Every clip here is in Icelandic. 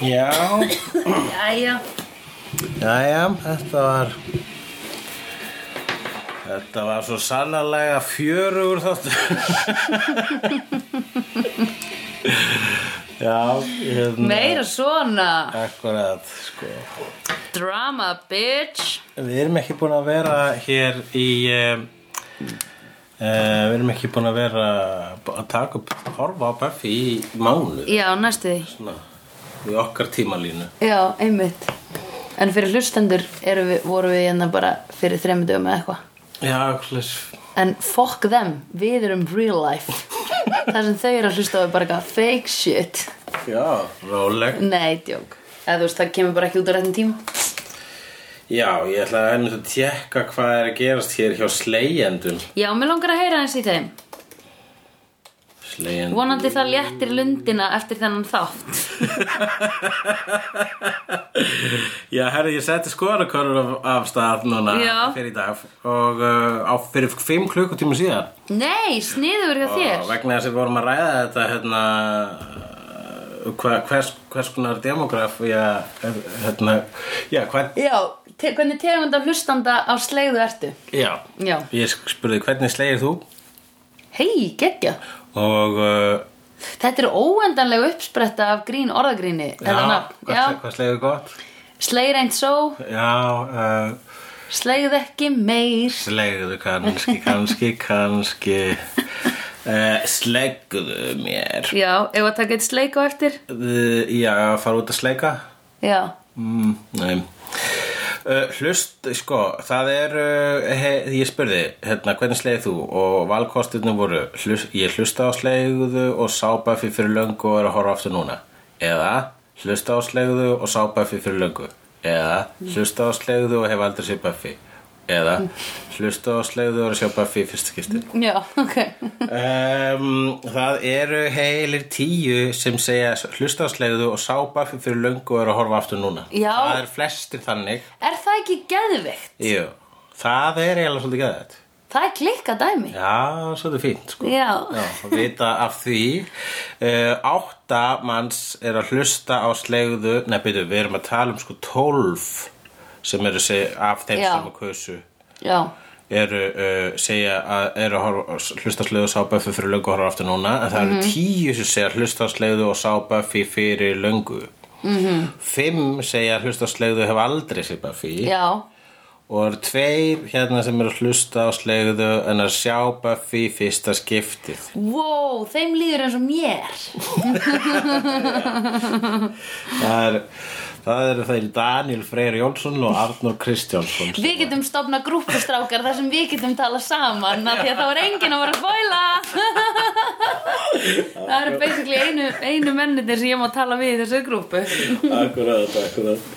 Já, Jæja, jæja, þetta var Þetta var svo sannarlega fjörugur þáttur Já, hérna meira svona Akkurat, sko Drama, bitch Við erum ekki búin að vera hér í uh, Við erum ekki búin að vera að taka upp, horfa á Buffy í mánu Já, næstu því svona, í okkar tímalínu Já, einmitt En fyrir hlustendur erum við, vorum við hérna bara fyrir þremmu dögum eða eitthvað Já, hlis En fuck them, við erum real life Það sem þau eru að hlusta á er bara eitthvað fake shit Já, róleg Nei, djók Eða þú veist, það kemur bara ekki út á réttin tíma Já, ég ætla að ennum að tjekka hvað er að gerast hér hjá slegjendum Já, mér langar að heyra eins í þeim Slegjendum Vonandi það léttir lundina eftir þennan þátt Já, herri, ég setti skoðanakörur af, af stað núna Já. fyrir í dag og uh, á fyrir fimm klukkutíma síðan Nei, sniður hjá og þér vegna þess að við vorum að ræða þetta hérna uh, hva, hvers, hvers konar demograf já, hérna, já, hvað Já, te hvernig tegund af hlustanda á slegðu ertu? já, Já. ég spurði hvernig slegir þú Hei, geggja og uh, Þetta er óendanlega uppspretta af grín orðagríni já, eða nafn. hvað, Já, hvað slegir gott sleir einn svo, já, uh, sleigð ekki meir Slegðu kannski, kannski, kannski uh, Slegðu mér Já, ef að taka eitt sleik á eftir uh, Já, fara út að sleika Já, mm, Nei uh, Hlust, sko, það er uh, he, Ég spurði, hérna, hvernig slegðu þú Og valkostirnir voru hlust, Ég hlusta á slegðu og sápa fyrir löngu og er að horfa aftur núna Eða hlusta á slegðu og sápa fyrir löngu Eða hlusta á slegðu og hef aldrei sér Buffy Eða hlusta á slegðu og er að sjá Buffy í fyrsta skipti já, ok Um, það eru heilir tíu sem segja hlustaslegðu og sá Buffy fyrir löngu og eru að horfa aftur núna Já. Það er flestir þannig Er það ekki geðveikt? Jú, Það er eiginlega svolítið gæðið Það er klikka dæmi Já, svolítið fínt sko. Já, Já, vita af því uh, Átta manns er að hlusta á slegðu Nei, byrju, við erum að tala um sko tólf sem eru seg, af þeim Já. sem að kusu já, eru uh, segja að eru að horfa- hlusta á slegðu og sá Buffy fyrir löngu og horfa aftur núna en það eru tíu sem segja hlusta á slegðu og sá Buffy fyrir löngu mm -hmm. fimm segja hlusta á slegðu og hef aldrei sér Buffy já og það eru tveir hérna sem eru að hlusta á slegðu en að sjá Buffy fyrsta skiptið Wow, þeim líður eins og mér það eru það eru þeir Daniel Freyr Jónsson og Arnur Kristjánsson Við getum stofna grúppustrákar þar sem við getum tala saman af því að þá er enginn að vera að fóla Það eru basically einu, einu mennir sem ég má tala við í þessu grúppu Akkurat, akkurat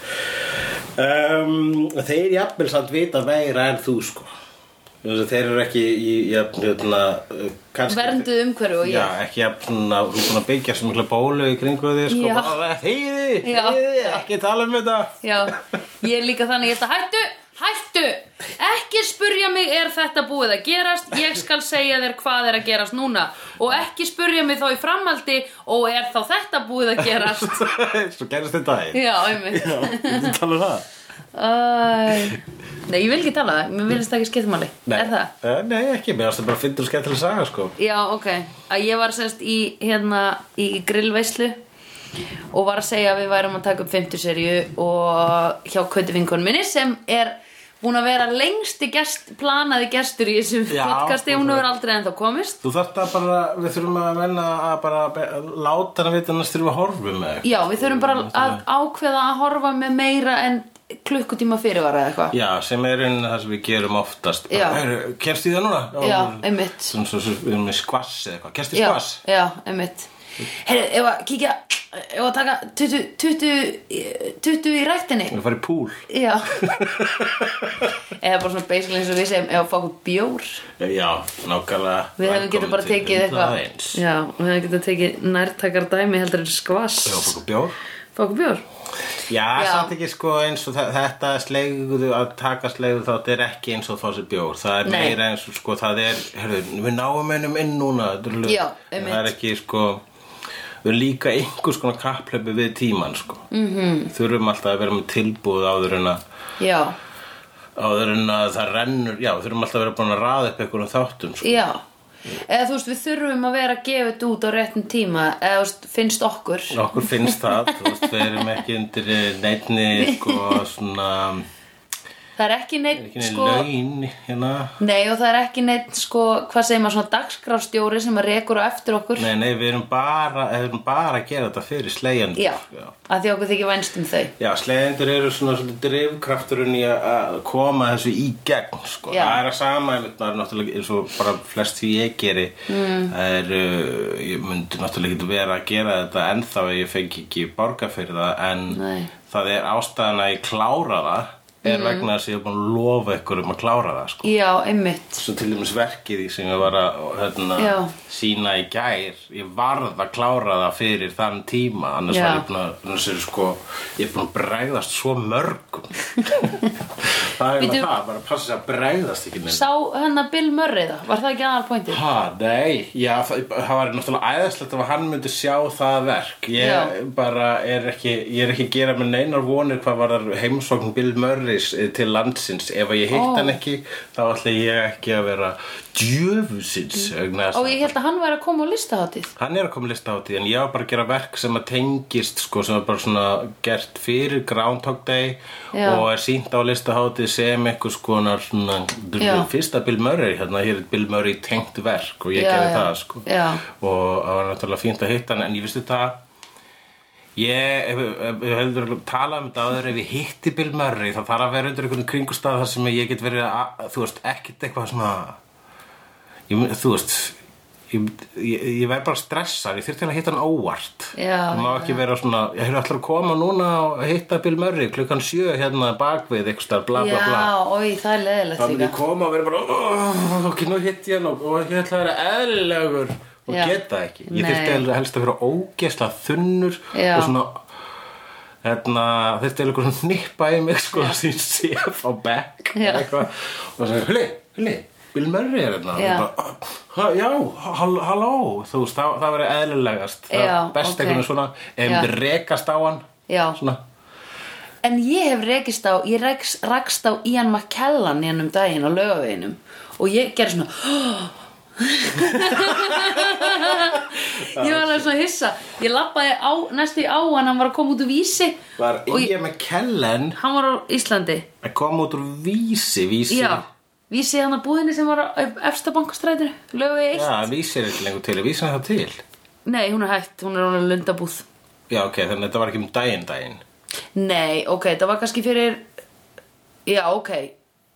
um, Þeir jafnvel samt vita meira en þú sko Þess að Þeir eru ekki í jafn, hérna, uh, kannski Vernduð umhverju og Já, ég ekki jafn að þú er búin að byggja sem mikla bólu í kringu því sko, Já. bara, Heiði, Já. heiði, ekki tala um þetta Já, ég er líka þannig ég ætla hættu, hættu Ekki spurja mig er þetta búið að gerast Ég skal segja þér hvað er að gerast núna Og ekki spurja mig þá í framhaldi Og er þá þetta búið að gerast Svo gerist þetta í Já, einmitt Já, þú tala um það Æ, Nei, ég vil ekki tala það, mér vilist það ekki skiptumáli Er það? Eh, Nei, ekki, mér varst það bara fyndur og skemmtileg saga sko Já, ok Að ég var semst í, hérna, í grillveislu og var að segja að við værum að taka upp 50 serju og hjá Kötu vinkon minni sem er búin að vera lengsti gest, planaði gestur í þessum Já, podcasti hún hefur aldrei ennþá komist Þú þarft að bara, við þurfum að menna að bara að láta hann að vita annars þurfum við að um horfum með Já, við þurfum bara að ákveða að horfa með meira en klukkutíma fyrirvara eða eitthvað Já, sem er einn það sem við gerum oftast Já. Heru, Kerst í það núna? Já, einmitt Sem svo sem við erum með skvass eða eitthvað Kerst í Já, skvass? já, einmitt Heyrðu, ef að kíkja ef að taka 20, 20, 20 í rættinni Við farið í púl Já Eða bara svona basically eins og við segjum Eða fá okkur bjór Já, nákvæmlega Við hefum getað bara tekið eitthvað Já, Já, við hefum getað tekið nærtakar dæmi heldur en skvass fokkur bjór Fá okkur bjór Já, Já. samt ekki sko eins og þa- þetta slegðu að taka slegðu þá þetta er ekki eins og þá sér bjór það er Nei. meira eins og sko það er herðu, við náum einum inn núna þetta er lög. Já, En einmitt. það er ekki sko við erum líka einhvers konar kapplöpu við tíman sko. mm Mhm. -hmm. þurfum alltaf að vera með tilbúð áður en að já, áður en að það rennur já, þurfum alltaf að vera búin að raða upp einhverjum þáttum sko. já eða þú veist, við þurfum að vera að gefa þetta út á réttum tíma eða þú veist, finnst okkur okkur finnst það, þú veist, við erum ekki undir eh, neinni sko, svona, það er ekki neitt, ekki neinni sko laun hérna, nei og það er ekki neitt, sko, hvað segir maður svona dagskrafstjóri sem að rekur á eftir okkur nei, nei, við erum bara við erum bara að gera þetta fyrir slegjandur já, já. að því okkur þykir vænst um þau Já, sleiðendur eru svona, svona drifkrafturinn í að- að koma þessu í gegn sko. Já. það er að sama einmitt, það er náttúrulega eins og bara flest því ég geri mm. það er, uh, ég myndi náttúrulega ekki vera að gera þetta ennþá ef ég fengi ekki borga fyrir það en Nei. Mm. það er ástæðan að ég klára það er vegna þess að ég er búin að lofa ykkur um að klára það sko já, einmitt svo til dæmis verkið í sem ég var að hérna, Já. sína í gær ég varð að klára það fyrir þann tíma annars Já. var ég búin að annars er sko, ég er búin að bregðast svo mörgum það er Bíddu. Vitu... það, bara að passa sig að bregðast ekki nefn sá hennar Bill Murray það, var það ekki aðal pointið ha, nei, já, það, það var náttúrulega æðislegt ef hann myndi sjá það verk ég Já. bara er ekki ég er ekki að gera með neinar vonir hvað var heimsókn Bill Murrays eh, til landsins ef að ég hitt Ó. hann ekki þá ætla ég ekki að vera djöfusins vegna þess og að- ég held að hann væri að koma á listaháttið Hann er að koma lista á því en ég var bara að gera verk sem að tengist sko, sem er bara svona gert fyrir Groundhog Day Já. og er sínt á lista á því sem einhvers konar svona, Já. fyrsta Bill Murray hérna, hér er Bill Murray tengt verk og ég Já, gerði já. það sko Já. og það var náttúrulega fínt að hitta hann en ég vissi þetta ég ef- ef- ef- heldur að tala um þetta áður ef ég hitti Bill Murray þá þarf að vera undir einhvern kringustað þar sem ég get verið að, þú veist, ekkert eitthvað svona ég, mun- þú veist ég, ég, ég verð bara stressar ég þurfti til að hitta hann óvart Já, það má ekki vera svona, ég hefur alltaf að koma núna og hitta Bill Murray klukkan sjö hérna bakvið eitthvað starf bla bla bla já, oi, það er Það leðilegt myndi líka ég koma og vera bara "Ó, ok, nú hitt ég hann og og ég ætla að vera eðlilegur og Já. get það ekki ég Nei. þyrfti eiginlega helst að vera ógesla þunnur Já. og svona hérna, þyrfti eiginlega eitthvað svona hnippa í mig sko, sem séf á bekk Já. eitthvað, og það segir, huli, huli Bill Murray er hérna Og Já. ég bara, "Ha, Já, hall- halló Þú veist, það, það verið eðlilegast Það Já, best ok. einhvern veginn svona Ef Já. við rekast á hann Já. Svona En ég hef rekist á, ég rekst, rakst á Ian McKellan hérna um daginn á laugaveginum og ég gerði svona "Oh!" Ég var alveg svona hissa Ég labbaði á, næstu í á hann, hann var að koma út úr vísi Var og ég, Íja með Kellen hann var á Íslandi að koma út úr vísi, vísi Já, vísi hann að búðinni sem var á efsta bankastrætinu, laugavegi 1 Já, vísir er ekki lengur til, vísir það til Nei, hún er hætt, hún er hún að lundabúð Já, ok, þannig að þetta var ekki um daginn daginn Nei, ok, þetta var kannski fyrir Já, ok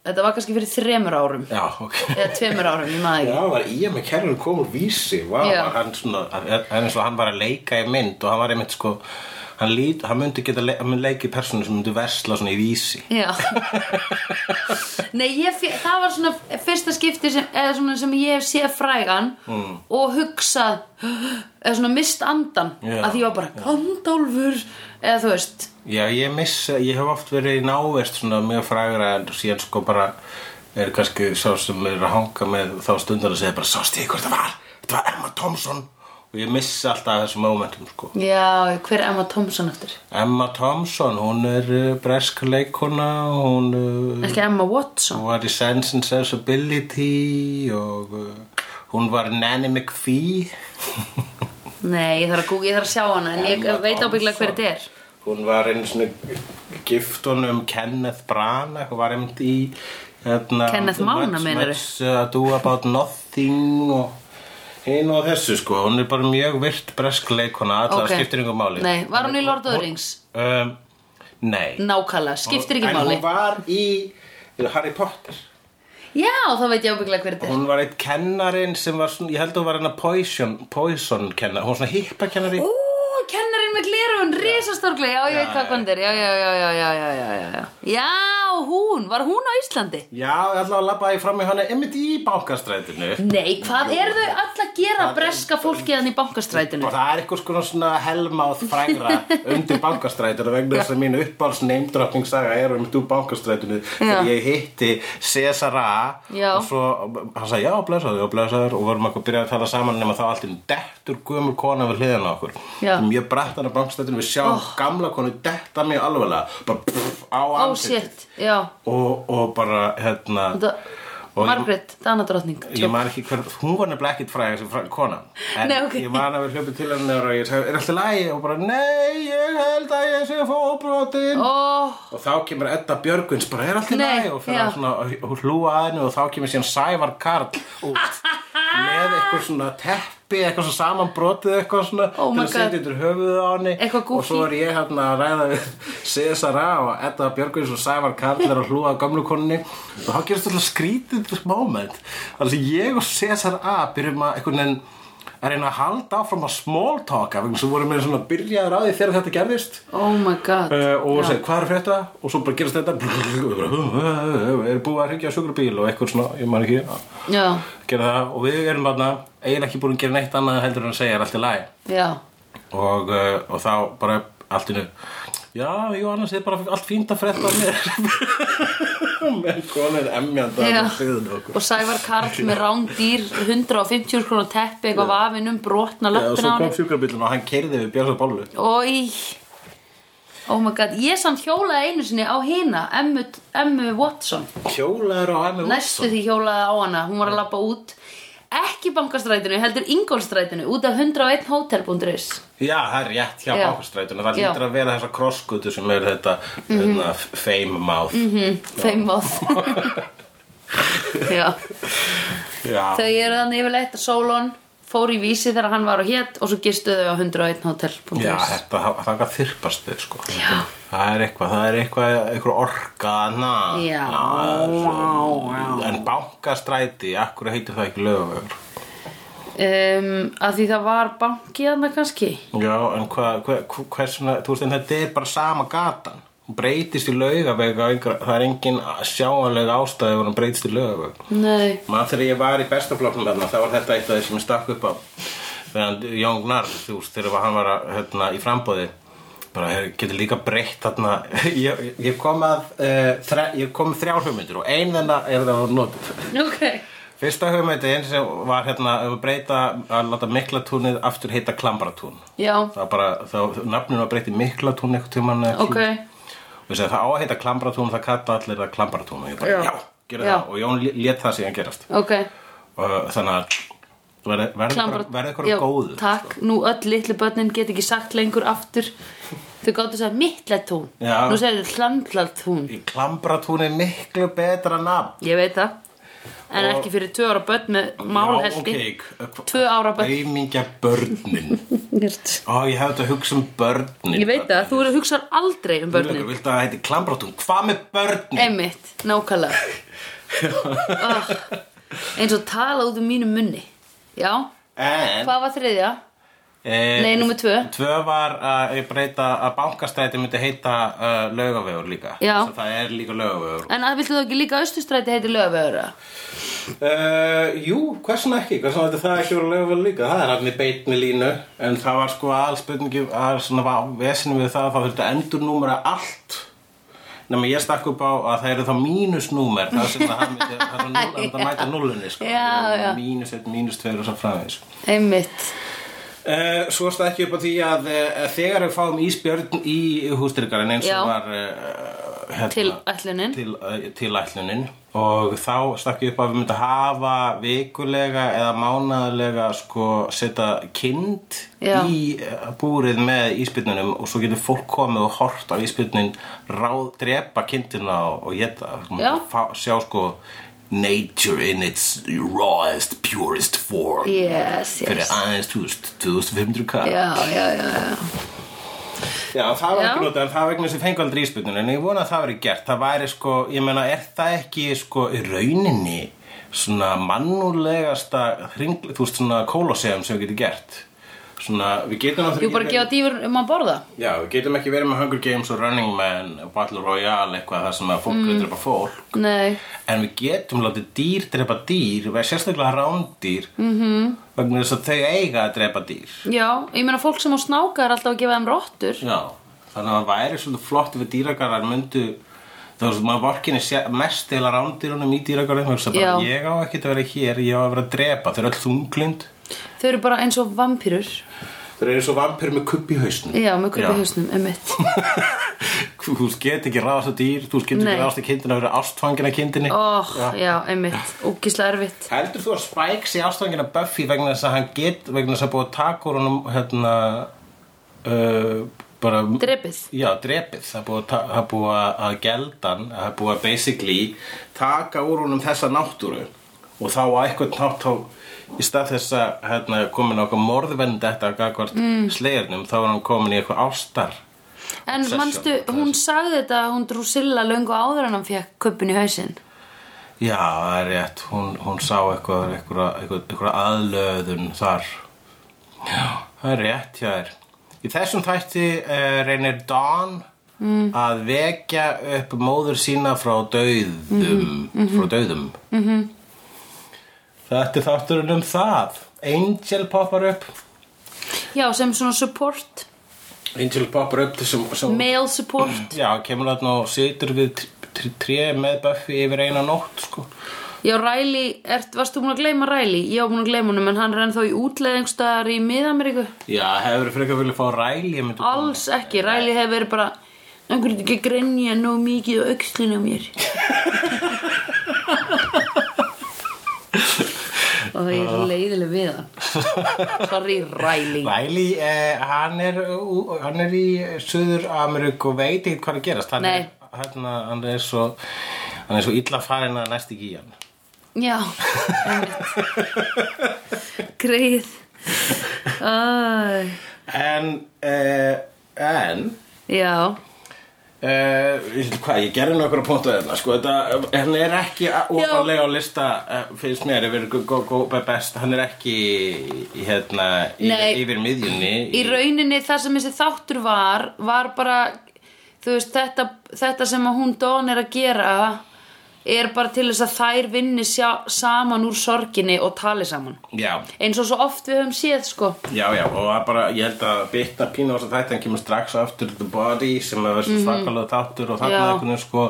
Þetta var kannski fyrir þremur árum Já, ok eða tveimur árum, ég maður ekki Já, var í að með kærlun kom úr vísi Vá, Já. var hann svona, hann er svo hann var að leika í mynd og hann var einmitt sko hann, lít, hann myndi geta le, hann myndi leiki personu sem myndi versla svona í vísi Já Nei, ég, fe- það var svona fyrsta skipti sem, eða svona sem ég hef séð frægan Hmm. og hugsað eða svona mist andan Já, að því ég var bara Gandálfur eða þú veist Já, ég missa, ég hef oft verið í návist svona mjög frægra en síðan sko bara er kannski sá sem er að hanga með þá stundan að segja bara sást ég hvort það var, þetta var Emma Thompson og ég missa alltaf þessum momentum sko Já, hver er Emma Thompson eftir? Emma Thompson, hún er uh, bresk leikona, hún uh, Ekki Emma Watson? hún var í Sense and Sensibility og uh, hún var Nanny McPhee. Nei, ég þarf að googa, ég þarf að sjá hana en ég Emma veit ábygglega hver Thompson. þetta er Hún var einu svona giftunum Kenneth Branagh, hún var einmitt í hérna, Kenneth Mána, meinarðu? Much uh, Do About Nothing og hinn og þessu sko. Hún er bara mjög virt bresk leikona, allar Ok. okay. skiptir yngur máli. Nei, var hún í Lord of the Rings? Um, nei. Nákvæmlega, skiptir ekki En máli hún var í Harry Potter. Já, þá veit ég ábygglega hver þetta er Hún var eitt kennarin sem var svona, ég held að hún var hennar poison, poison kennar, hún var svona hippakennari. Ó, kennarinn með glerun, risastórgli, já, ég veit hvað hann er, já, já, já, já, já, já, já, já, já, hún? Var hún á Íslandi? Já, ég ætla að labba í fram í hana einmitt í bankastrætinu Nei, hvað eru þau all að gera breska fólkið hann í bankastrætinu? og það er eitthvað sko svona helmáð frægra undir bankastrætinu vegna þess að mín uppáls neymdropping saga er um þú bankastrætinu þegar ég hitti Cesara Já. og svo hann sagði já blessaður, já blessaður og vorum eitthvað að byrja að tala saman nema þá allt í einu dettur gömur kona við hliðan á okkur Já. Oh. sem ég brætt hann á bankastrætinu við sjáum gamla konu detta mig alveglega bara pff, á Ó, andlitið. shit, já og, og bara hérna Þetta- Og- Margrét, danadrottning Ég man ekki hver, hún var nefnilega ekkert fræg sem fræg kona En Nei, ok. ég man að við hljöpum til hennar og ég sagði, er alltaf lægi? Og bara, nei, ég held að ég sé að fá óbrotin Ó, Og þá kemur Edda Björgvins, bara, er alltaf Nei, lægi? Og fyrir já. að svona, uh, og hlúa að henni og þá kemur síðan Sævar Karl út Með eitthvað svona teppi, eitthvað svona samanbrotið eitthvað svona Oh Til my að setja God. yfir höfuðið á henni Eitthvað goofy. Og svo er ég hérna að ræða við Cesara og Edda Björgvins og Sævar Karl er að hlúa að gömlu koninni og þá gerist alltaf skrítið moment þannig að ég og Cesara byrjum að einhvern veginn að reyna að halda áfram að smalltalka vegna svo vorum við svona byrjaður á því þegar þetta gerðist oh my god uh, og Já. segir hvað er frétta og svo bara gerast þetta og bara, "Hú, hú, hú, hú, er búið að hringja á sjúkrabíl og eitthvað svona, ég man ekki Já, gera það og við erum þarna eiginlega ekki búin að gera neitt annað heldur en að segja er allt í lagi já og, uh, og þá bara allt innu já, jú, annars er bara allt fínt að frétta af mér með konin emjandi Já. að hliðin okkur Og Sævar Karl með rándýr 150 krónu teppi eitthvað vafinn um Já, brotna og svo löppin á kom hann sjúkrabílun og hann keirði við Björnsson Bálu Ói Oh my god, ég samt hjólaði einu sinni á hina Emmu, Emmu Watson hjólaður á Emmi Næstu því hjólaði á hana, hún var að labba út Ekki bankastrætinu, heldur Ingolstrætinu Út af 101 hotel.is já, það er rétt hjá Já. Bankastrætun það Já. Mhm. lítur að vera þessa krosskutu sem er þetta mm -hmm. fame mouth mm Feimáð Já já, Þau eru þannig yfirleitt að Solon fór í vísi þegar hann var á hétt og svo gistu þau á 101 hotel.is já þetta, það kann þyrpast þig sko Já. það er eitthvað, það er eitthvað, eitthvað orkana Já. já, en Bankastræti, akkur heitir það ekki lögavegur um, að því það var banki þarna kannski Já, en hvað, hva, hva, hversuna, þú veist, en þetta er bara sama gatan. Hún breytist í laugaveg á einhver, það er engin sjáanlega ástæði ef hún breytist í laugaveg. Nei Man þegar ég var í bestaflokknum þarna, þá var þetta eitt af því sem ég stakk upp á. Þegar Jón Gnarr, þú veist, þegar hann var að, hérna, í frambóði, bara "Heyrðu, getur líka breytt þarna. Ég, ég kom að, uh, þre, ég kom með þrjár hugmyndir og ein þennan er það að nota. Ok Fyrsta hugmyndin sem var hérna um að breyta, að láta miklatúnið aftur heita klambratún. Já, Það bara, þá, nafninu var breytt í Miklatún eitthvað tímann eða ok eitthvað. Og ég segi það á að heita Klambratún, það kalla allir það Klambratún og ég bara, Já. já, gera Já. það og Jón lét það síðan gerast Ok, og þannig að verði klambra verði eitthvað sko. Já, góðu Takk, nú öll litlu börnin get ekki sagt lengur aftur Þau gáttu að segja mittletún Já. Nú segir þau hlandlatún Í Klambratún er miklu betra nafn Ég veit það En ekki fyrir tvö ára börn með málhelti Já, ok, Tvö ára börn Æmingja börnin Nýrt. Ó, ég hefði þetta að hugsa um börnin Ég veit það, þú eru að hugsa aldrei um Þú börnin viltu að það heiti Klambratún, hvað með börnin? Einmitt, nákvæmlega oh, Eins og tala út um mínum munni Já, En hvað var þriðja? Eh, Nei, númer tvö. Tvö var eh, að ég breyta að bankastræti myndi heita uh, laugavegur líka Já. Svo Það er líka laugavegur En að viltu þú ekki líka austurstræti heiti lögvegur? eða? uh, Jú, hversna ekki, hversna þetta það ekki voru laugavegur líka Það er hann í beitni línu En það var sko aðalspurningi að svona var vesinu við það að það þurfti að endurnúmera allt Nefnum ég stakk upp á að það eru þá mínusnúmer Það sem það hann myndi, það er núl, hann myndi að mæta núlunni sko. Já, já. Mínus 1, mínus 2 og svo framvegis Einmitt Uh, svo stað ekki upp á því að uh, þegar við fáum ísbjörn í hústyrkarinn eins og Já. var uh, hérna, til ætlunin til, uh, til ætlunin og þá stakk ég upp að við myndum hafa vikulega eða mánaðlega sko setja kind Já. í uh, búrið með ísbjörnunum og svo getur fólk komið og hort á ísbjörnin ráð, drepa kindina og, og geta Já. fá, sjá sko nature in its rawest, purest form Yes, fyrir yes aðeins 2000, 2500 kall Já, já, já, já Já, það var Já. ekki notað, en það var vegna sem fengu aldrei íspilnun en ég vona að það veri gert, það væri sko ég meina, er það ekki sko í rauninni svona mannúlegasta hring, þú veist svona kólosegum sem við getum gert svona, við getum náttúrulega Jú, bara ekki gefa dýfur um að borða Já, við getum ekki verið með Hunger Games og Running Man og Battle Royale eitthvað þar sem að fólk mm. drepa fólk Nei, en við getum látið dýr drepa dýr og sérstaklega rándýr mm Mhm. -hmm. vegna þess að þau eiga að drepa dýr já, ég meina fólk sem á snáka er alltaf að gefa þeim rottur Já, þannig að það væri svolítið flott ef við dýragarðar myndu þá veist, maður vorkinni mest til að rándýrunum í dýragarðum og bara, Já. ég á ekkert að vera hér, ég á að vera að drepa þau eru öll þunglind Þau eru bara eins og vampýrur þau eru eins og vampir með kubb í hausnum Já, með Já. kupi hausnum, emitt þú þú get ekki ráðast á dýr, þú get ekki Nei. ráðast á kindina þú eru ástfangin að kindinni Óh, Oh, já, emitt, ógísla erfitt Heldur þú að Spike sé ástofangin að Buffy vegna þess að hann get, vegna þess að búið að taka úr honum hérna uh, bara Drepið Já, drepið, það er búið, að ta- það er búið að- að geldan, það er búið að basically taka úr honum þessa náttúru og þá á eitthvað nátt þá í stað þess að hérna, komin á eitthvað morðvend þetta gagvart mm. sleirnum þá er hann komin í eitthvað ástar En Obsession. manstu, hún sagði þetta, hún Drusilla löngu áður en hann fekk kuppin í hausinn Já, það er rétt, hún, hún sá eitthvað, eitthvað, eitthvað, eitthvað aðlöðun þar Já, það er rétt hjá þér Í þessum þætti uh, reynir Dawn að vekja upp móður sína frá dauðum frá dauðum mm -hmm. Þetta er þátturinn um það Angel poppar upp Já, sem svona support, Angel poppar upp þessum sem, male support Já, kemur þarna og situr við tr- tr- tré með Buffy yfir eina nótt sko. Já, Riley, ert, varst þú búin að gleyma Riley? Ég var búin að gleyma honum, en hann er ennþá í útleðingstöðar í Mið-Ameríku Já, hefur frekar vilja fá ræl ég myndi Alls ekki, Riley hefur verið bara einhvern veit ekki að grenja nóg mikið og aukslinu á mér og það er leiðileg við það Sorry Riley Riley, eh, hann, er, ú- hann er í Suður Ameríku og veit ekki hvað er að gerast hann Nei. er, hann, hann er svo hann er svo illa farin að næst ekki í hann Já Greið Æ, en eh, en Já eh, hvað, ég gerði nokkra punktu þarna sko, þetta, hann er ekki ofanlega á lista eh, finnst mér yfir go, go, go, best, hann er ekki í- hérna, yfir, Nei. yfir miðjunni Í rauninni það sem þessi þáttur var var bara þú veist, þetta, þetta sem að hún Don er að gera er bara til þess að þær vinni sjá, saman úr sorginni og tali saman já eins og svo oft við höfum séð sko Já, já, og það bara, ég held að bytta pínu á þess að þetta en kemur strax á aftur The Body sem er verið svakalega þáttur og þarna Mhm. Já. einhvern veginn sko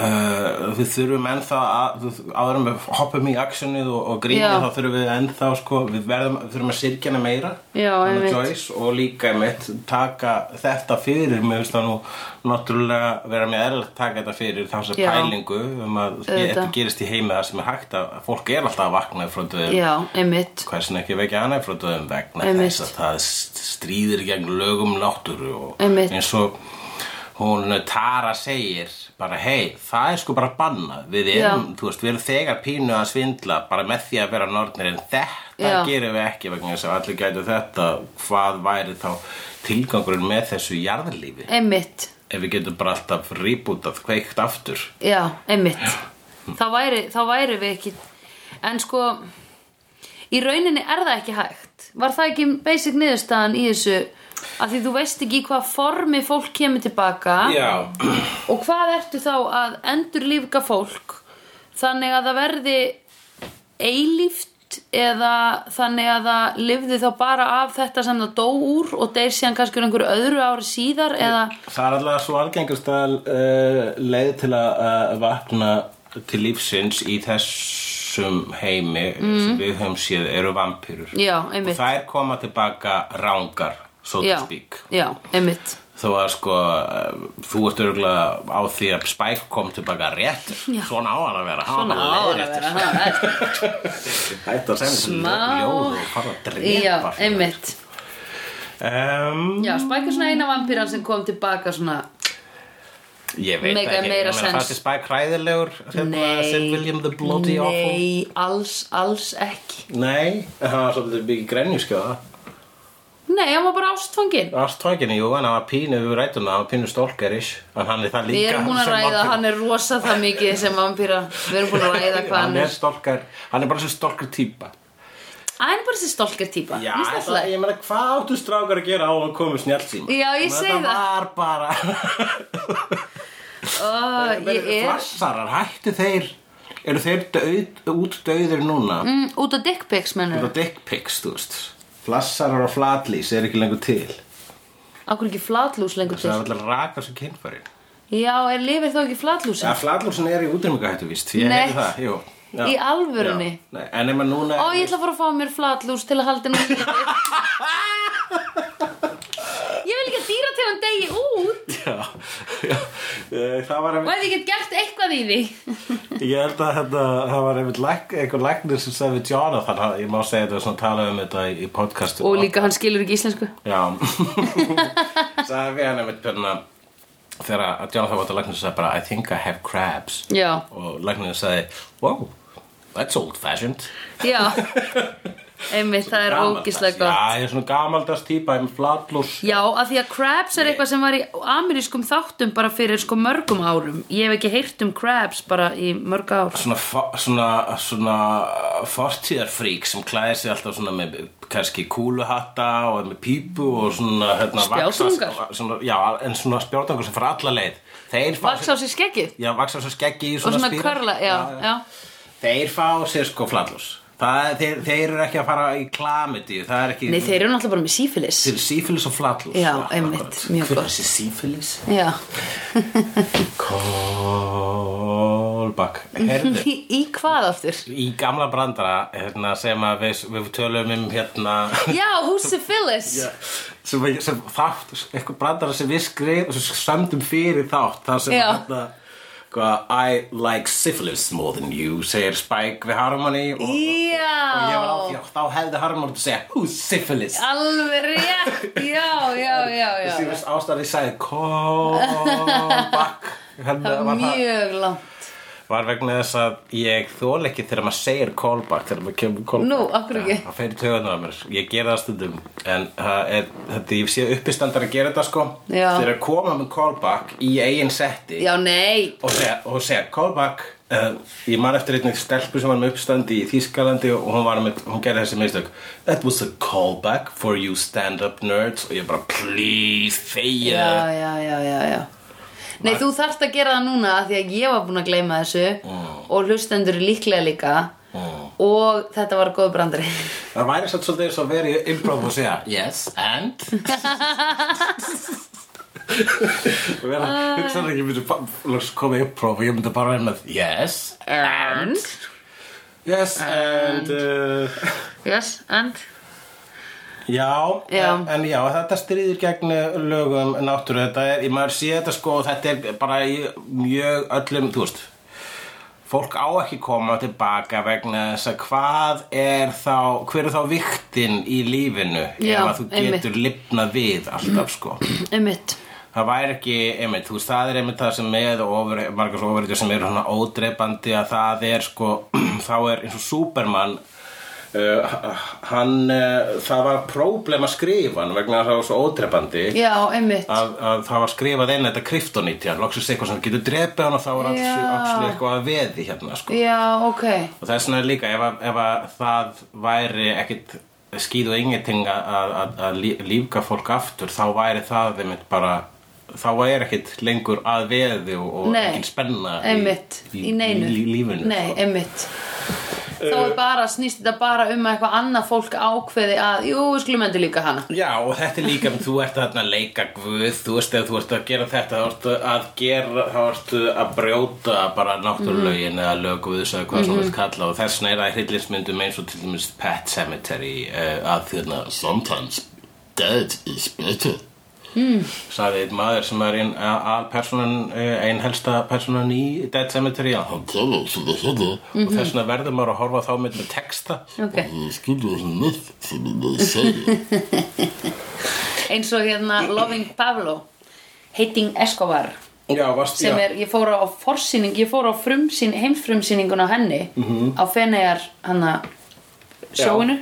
uh, við þurfum ennþá að, áður en við hoppum í actionið og, og grínið Já. þá þurfum við ennþá sko, við verðum, við þurfum að sirkja hana meira Já, hana einmitt. Joyce, og líka mitt taka þetta fyrir, mér finnst það nú náttúrulega vera mér eðlilegt taka þetta fyrir þá sem Já. pælingu um að Auðvitað. þetta gerist í heimi það sem er hægt að að fólk er alltaf að vakna frá döðum Já, einmitt hversin ekki vekja hana frá döðum vegna Einmitt. þess að það st- stríðir gegn lögum um náttúru og Einmitt. eins og hún Tara segir bara hei, það er sko bara banna við erum, þú veist, við erum þegar pínu að svindla bara með því að vera nornir en þetta Já. gerum við ekki vegna þess að allir gætu þetta hvað væri þá tilgangurinn með þessu jarðlífi Einmitt, ef við getum bara alltaf rýbútað kveikt aftur já, einmitt Þá væri, þá væri við ekki En sko Í rauninni er það ekki hægt Var það ekki basic niðurstaðan í þessu að því þú veist ekki í hvað formi fólk kemur tilbaka Já, og hvað ertu þá að endurlífga fólk þannig að það verði eilíft eða þannig að það lifði þá bara af þetta sem það dó úr og deyr síðan kannski úr einhverju öðru ári síðar eða Það er alltaf svo algengast að uh, leið til að uh, vakna til lífsins í þessum heimi Mm. sem við höfum séð eru vampýrur. já, Og einmitt þær koma tilbaka rángar, so to já, speak. já, einmitt Þó að sko, uh, þú ert örgulega á því að Spike kom tilbaka rétt. Já. Svona á hann að vera. svona á að sko. vera ha, ha. Þetta sem Smá. ljóð og fara að drepa. já, fólk. einmitt Em, já, spækur svona eina vampýran sem kom tilbaka svona ég veit Mega ekki. Ég meina, meira sens. fannst þér Spike hræðilegur? hérna, Sir William the Bloody Awful? nei, alls, alls ekki Nei, það var svolítið mikið sko. grenjuskjóða nei, hann var bara ástfangin Ástvækinni, jú, en hann var pínu við rætuna, hann var pínu stólkerish En hann er það líka Við erum búin að sem ræða, vampíra. hann er rosa það mikið sem vampýra Við erum búin að ræða hvað hann er stólker, hann er bara svo stólker típa að henni bara þessi stólker típa Já, Mér finnst það, það ég meina, hvað áttu strákar að gera á að koma snjálfsíma? Já, ég segi Þetta það. var bara... flægt. Ó, ég er Flassarar, hættu þeir... Eru þeir döð, útdauðir núna? Mm. mm, út á dickpics mennur Þetta dick pics, þú veist. Flassarar og flatlýs er ekki lengur til. Akkur ekki flatlús lengur Það til er alltaf raka sem kynfærin. Já, er lifir þó ekki Já, flatlúsin? flatlúsin er í útrýmingahættu, víst. Ég Nei. heiti það, jú. Já. Í alvörunni? Já. Nei, en nema núna... Ó, ég ætla að fara að fá mér flatlús til að halda mér lífi. Ég vil ekki að dýra til hann degi út Já, já, eh, það var og einmitt, ef ég get gert eitthvað í því ég held að þetta, það var einmitt læk, einhver læknir sem sagði við Jonathan, hann- ég má segja þetta svona tala um þetta í, í podcastu. Og líka hann skilur ekki íslensku Já, sagði við hann einmitt björna, þegar að Jonathan var til læknir sagði bara, I think I have crabs. Já, Og læknir sagði, wow, that's old fashioned. já Einmitt, það er ógislega gott Já, ég er svona gamaldags típa, ég er með flatlús. Já, af því að crabs er eitthvað sem var í amerískum þáttum bara fyrir sko mörgum árum Ég hef ekki heyrt um crabs bara í mörg ár svona, fo- svona, svona uh, fortíðarfrík sem klæðir sig alltaf svona með kannski kúluhatta og er með pípu og svona hérna, Spjátungar. vaxa- svona, Já, en svona spjátungar sem fara alla leið Þeir fá Vaks á sér skeggið Já, vaksa svo skeggi í og svona, svona spíra. körla Já, já Þeir fá sér sko flatlús Það, þeir, þeir eru ekki að fara í klamiti Það er ekki Nei, þeir eru náttúrulega bara með sífilis Þeir eru sífilis og flatlús Já, akkurat. einmitt, mjög Hver gott. er þessi sífilis? Já Callback Herðu Í, í hvað aftur? Í gamla brandara hérna, sem að við, við tölum um hérna Já, húsi Phyllis sem, við- sem þátt, eitthvað brandara sem við skrif sem samtum fyrir þátt þar sem Já. hérna hvað, I like syphilis more than you segir Spike við Harmony og, og ég var á því Já, og þá hefði Harmony að segja who's syphilis alveg rétt Já, já, já, já þessi veist ástæði sagði callback hérna, Það var, var það, mjög langt var vegna þess að ég þól ekki þegar maður segir callback þegar maður kemur callback Nú, af hverju ekki? það fer í töðunar að mér, ég gera það stundum en það er, þetta ég sé uppistandar að gera þetta sko Já. þegar að koma með callback í eigin setti Já, nei og segja, og segja callback uh, ég man eftir einnig stelpu sem var með uppstandi í Þýskalandi og hún var með hún gerði þessi mistök that was a callback for you stand-up nerds og ég bara please þegja Já, já, já, já, já Nei, þú þarft að gera það núna af Því að ég var búin að gleyma þessu Og hlustendur eru líklega líka Mm. Og þetta var góð brandari það væri satt svolítið eins og verið í improv og segja yes and og vera hugsaði ekki ég myndi bara koma í improv og ég myndi bara vera með yes And Yes, and, uh, Yes, and já, Já. En, en já, þetta stríðir gegn eh, lögum náttúru, þetta er, ég maður sé þetta sko, þetta er bara í mjög öllum, þú veist, fólk á ekki koma tilbaka vegna þess að hvað er þá, hver er þá viktin í lífinu Já, ef að þú einmitt. getur lifnað við alltaf sko. Einmitt Það væri ekki, einmitt, þú veist, það er einmitt það sem með og ofur, margars ofurítjur sem eru svona ódreipandi að það er sko, þá er eins og Superman, uh, hann, uh, það var próblem að skrifa hann vegna þess að það var svo ódreipandi Já, einmitt að, að það var skrifað inn þetta kryptonít, já, loksins eitthvað sem getur drepið hann og þá var Já. alls eitthvað að veði hérna, sko. Já, ok Og það er svona líka, ef, að- ef að það væri ekkit skýð og ingeting að- að að- að lí- lífga fólk aftur, þá væri það einmitt bara, þá væri ekkit lengur að veði og, og Nei. ekkit spenna Einmitt, í, Eh. neinu í, lífinu. Nei, sko. einmitt Þá er bara, snýst þetta bara um að eitthvað annað fólk ákveði að Jú, við skulum endur líka hana Já, og þetta er líka, þú ert þarna að leika guð, þú veist, ef þú ert að gera þetta, þá ertu að gera, þá ertu að brjóta bara náttúrlögin eða lögguðus eða hvað mm -hmm. svona vilt kalla og þess vegna er það hryllinsmyndum eins og til dæmis Pet Cemetery uh, að þérna Sometimes dead is better sagði einn maður sem er einn alpersonan, einn eh, helsta personan í Dead Cemetery að hann talar sem það hérna og þess vegna verður maður að horfa þá með, með texta Ok og ég skilja þessi neitt sem ég maður segja eins og hérna Loving Pablo Hating Escobar Já, varst, sem já. er, ég fór á forsýning ég fór á frumsýn, heimfrumsýningun á henni Mhm. á Fenegar hana sjóinu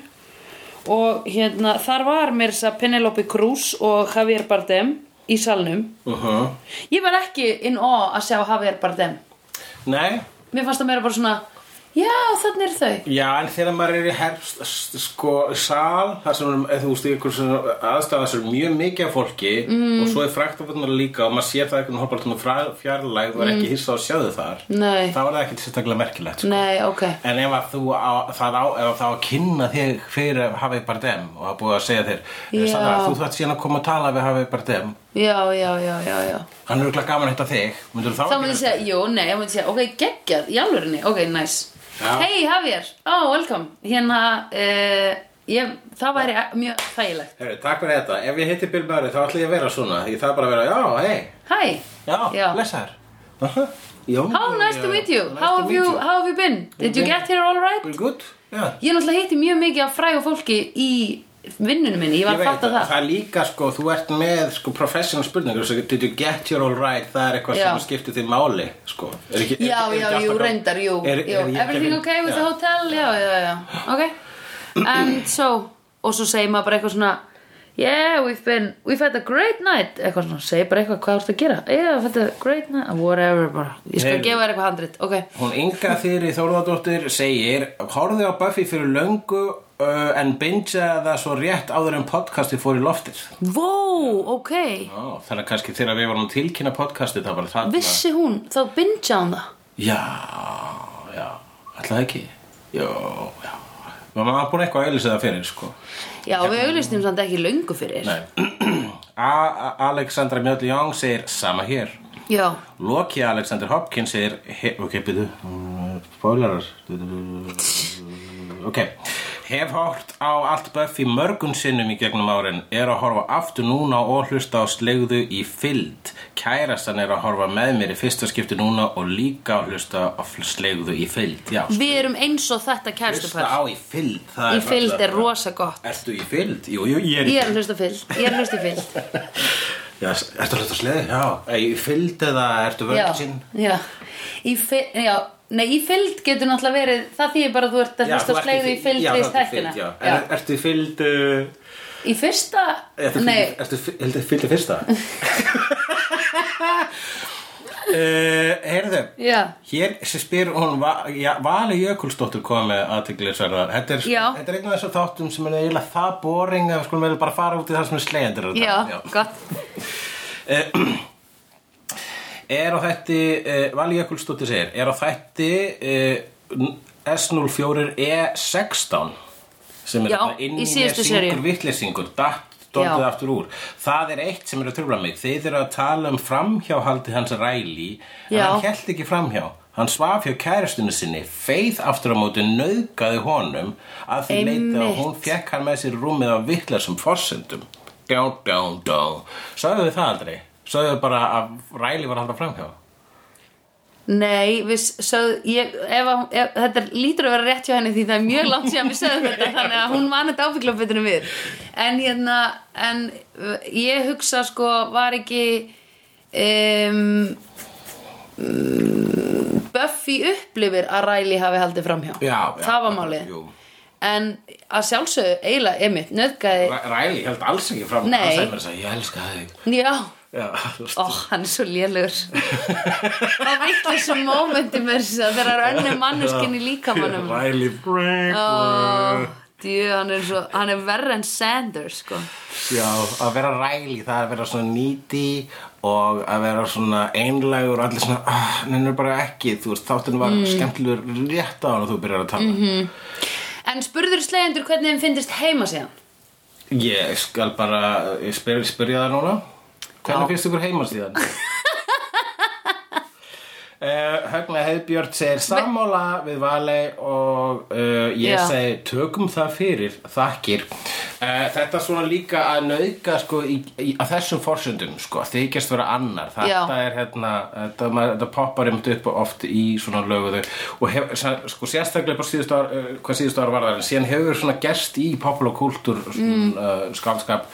og hérna þar var mér þess að Penelope Cruz og Javier Bardem í salnum uh ég var ekki in awe að sjá Javier Bardem Nei, mér fannst það meira bara svona já, þannig eru þau Já, en þegar maður er í herst, sko, sal, þar sem er, þú veist, í einhver svona aðstæða sem er mjög mikið af fólki mm. og svo er fræktafötnar líka og maður sér það einhvern hópar svona frá- fjarlægð og er ekki hissa á sjáðu þar, Mm. Nei. þá er það ekkert sérstaklega merkilegt, sko. nei, ok En ef að þú á, það á, ef að það á að kynna þig fyrir Hafið Bardem og hafa búið að segja þér, Já. Sandra, þú þátt síðan að koma að tala við Hafið Bardem, já, já, já, já, já hann er örugglega gaman að hitta þig, myndur þú þá þá ekki myndi ég vera- segja, jú, nei, ég myndi segja, ok, geggjað í alvörinni, ok, nice Já. hei, Javier, ó, welcome hérna, uh, ég, það væri mjög þægilegt Heyrðu, takk fyrir þetta, ef ég hitti Bill Murray þá ætla ég að vera svona, ég þarf bara að vera, já, hei, hæ, Já, Já. blessaður Aha, já, how nice já, to meet you, nice how, to have meet you, how have you been did you get here all right Very good Já. ég náttúrulega hitti mjög mikið af frægu fólki í vinnunum minni, ég var Ég að veit fatta það, það það er líka sko, þú ert með sko professional spurningar, svo did you get your all right, það er eitthvað Já. sem skiptir þig máli, sko. Er ekki, já, er, er já, ekki jú, alltaf- reyndar, jú, er, hérna? jú. er, everything okay with the hotel, já, já, já ok, and so og svo segir maður bara eitthvað svona yeah, we've been, we've had a great night eitthvað svona, segir bara eitthvað, hvað ertu að gera yeah, we've had a great night, whatever bara ég skal Heyrðu. gefa þér eitthvað handrit, ok Hún Inga Þyri Þórðardóttir segir Horfði á Buffy fyrir löngu uh, en bingeaði það svo rétt áður en podcastið fór í loftið wow, ok, Ó, Þannig að kannski þegar við vorum að tilkynna podcastið það var það vissi hún þá bingja hún það Já, já, alltaf ekki Jó, já Maður var búin eitthvað að auðlýsa það fyrir, sko já, við auðlistum samt ekki löngu fyrir Nei A- A- Alexandra Mjöll Young segir Sama hér já, Loki Alexander Hopkins segir he- Ok, byrðu Spoilerar Ok Hef hort á allt Buffy mörgum sinnum í gegnum árin Er að horfa aftur núna og hlusta á slegðu í fylld Kærastan er að horfa með mér í fyrsta skipti núna og líka að hlusta á slegðu í fylld Já, við erum eins og þetta Hlusta kærstupar á í fylld það í fylgd er náttúrulega- rosa gott Ertu í fylld? Jú, jú, ég er í ég er að hlusta á fylgd, ég er að hlusta í fylgd Já, s- ertu að hlusta á sleði? Já Ei, Í fylld eða ertu vörgsinn? já, í fylgd, já nei, í fylgd getur náttúrulega verið það þýðir bara að þú ert að hlusta á slegðu í fylgd Já, við þú ert í stækkina já. Já. Er, Ertu í fylld uh, í fyrsta, Ertu nei, fylld- ertu fylld- ertu fylld í fyrsta? uh, heyrðu já Hér sem spyr hún Va- já, Vali Jökulsdóttir kom með aðtiklisverðar Þetta er, Já. þetta er einn af þessum þáttum sem er eiginlega það boring að við skulum eiginlega bara fara út í það sem er slegjandir já, gott Er á þætti, uh, Vali Jökulsdóttir segir, er á þætti uh, S04E16 E sem er Já, þarna inn í síðustu seríu. syngur vitlesingur, datt dóndið Já. aftur úr. Það er eitt sem er að tröfla mig. Þið eru að tala um framhjáhaldi hans ræli, en Já. hann held ekki framhjá. Hann svaf hjá kæristinu sinni, feið aftur á móti nauðgaði honum að því leita að Einmitt. hún fekk hann með sér í rúmið á vitlarsum forsendum. Dán, dán, dán. Sagðu þið það aldrei? Sagðu þið bara að ræli var alltaf framhjá? Nei, við sögð, ég, ef, að- ef, þetta er- lítur að vera rétt hjá henni því það er mjög langt síðan við sögðum þetta þannig að hún man þetta ábyggla betur en við en hérna, en uh, ég hugsa sko, var ekki um, um, Buffy upplifir að Riley hafi haldið framhjá Já, já, það var málið jú. en að sjálfsögðu, eiginlega, emitt, nöðgæði Ræ- Ræli held alls ekki fram Nei. Hann sagði mér þess að ég elska þig já, Já, ó, hann er svo lélugur það veitlega svo mómenti með þess að þegar önnum manneskinni líkamannum Ræli Brink Ó, Djú, hann er, svo, hann er verri en Sanders sko. Já, að vera ræli það er að vera svona nýti og að vera svona einlægur og allir svona, ah, nennur bara ekki þú veist, þáttun Mm. var skemmtilegur rétt á hann og þú byrjar að Mhm. tala En spurður slegjendur hvernig þeim finnist heima síðan Ég skal bara ég spyr, spyrja það núna Hvernig finnst ykkur heima síðan? Uh, Högna Heiðbjörn segir sammála við Valei og uh, ég Já. segi tökum það fyrir, þakkir uh, Þetta svona líka að nauðga sko, í, í, að þessum forsöndum sko, þykjast vera annar þetta Já. er hérna, þetta, maður, þetta poppar einmitt upp oft í svona löguðu og hef, sa- sko, sérstaklega bara síðustu ár, uh, hvað síðustu ár var það en síðan hefur svona gerst í popular kultúr mm. uh, skaldskap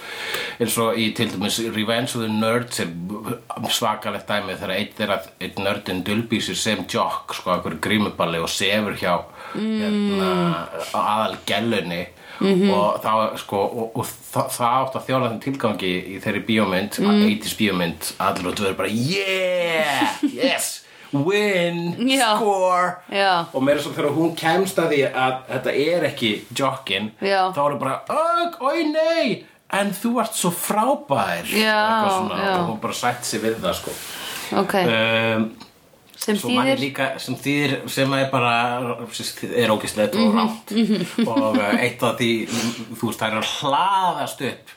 eins og í til dæmis Revenge of the Nerds er svakalegt dæmi þegar einn þeirra einn nördin dulbýsir sem jock sko, einhver grímuballi og sefur hjá hérna, aðal gellunni Mhm. og það sko og, og það, það átt að þjóna þeim tilgangi Mhm. í þeirri bíómynd, mm. 80s bíómynd allir og þú verður bara yeah, yes win, Já. score Já. og meira svo þegar hún kemst að því að þetta er ekki jokkin Já. þá er hún bara, ögg, oi nei en þú ert svo frábær Já, Eitthvað svona, já. og hún bara sætt sig við það sko ok, um, sem svo manni þýðir líka sem þýðir sem er bara sem er ógislegt Mhm, og rámt og eh, eitt af því þú veist það er að hlaðast upp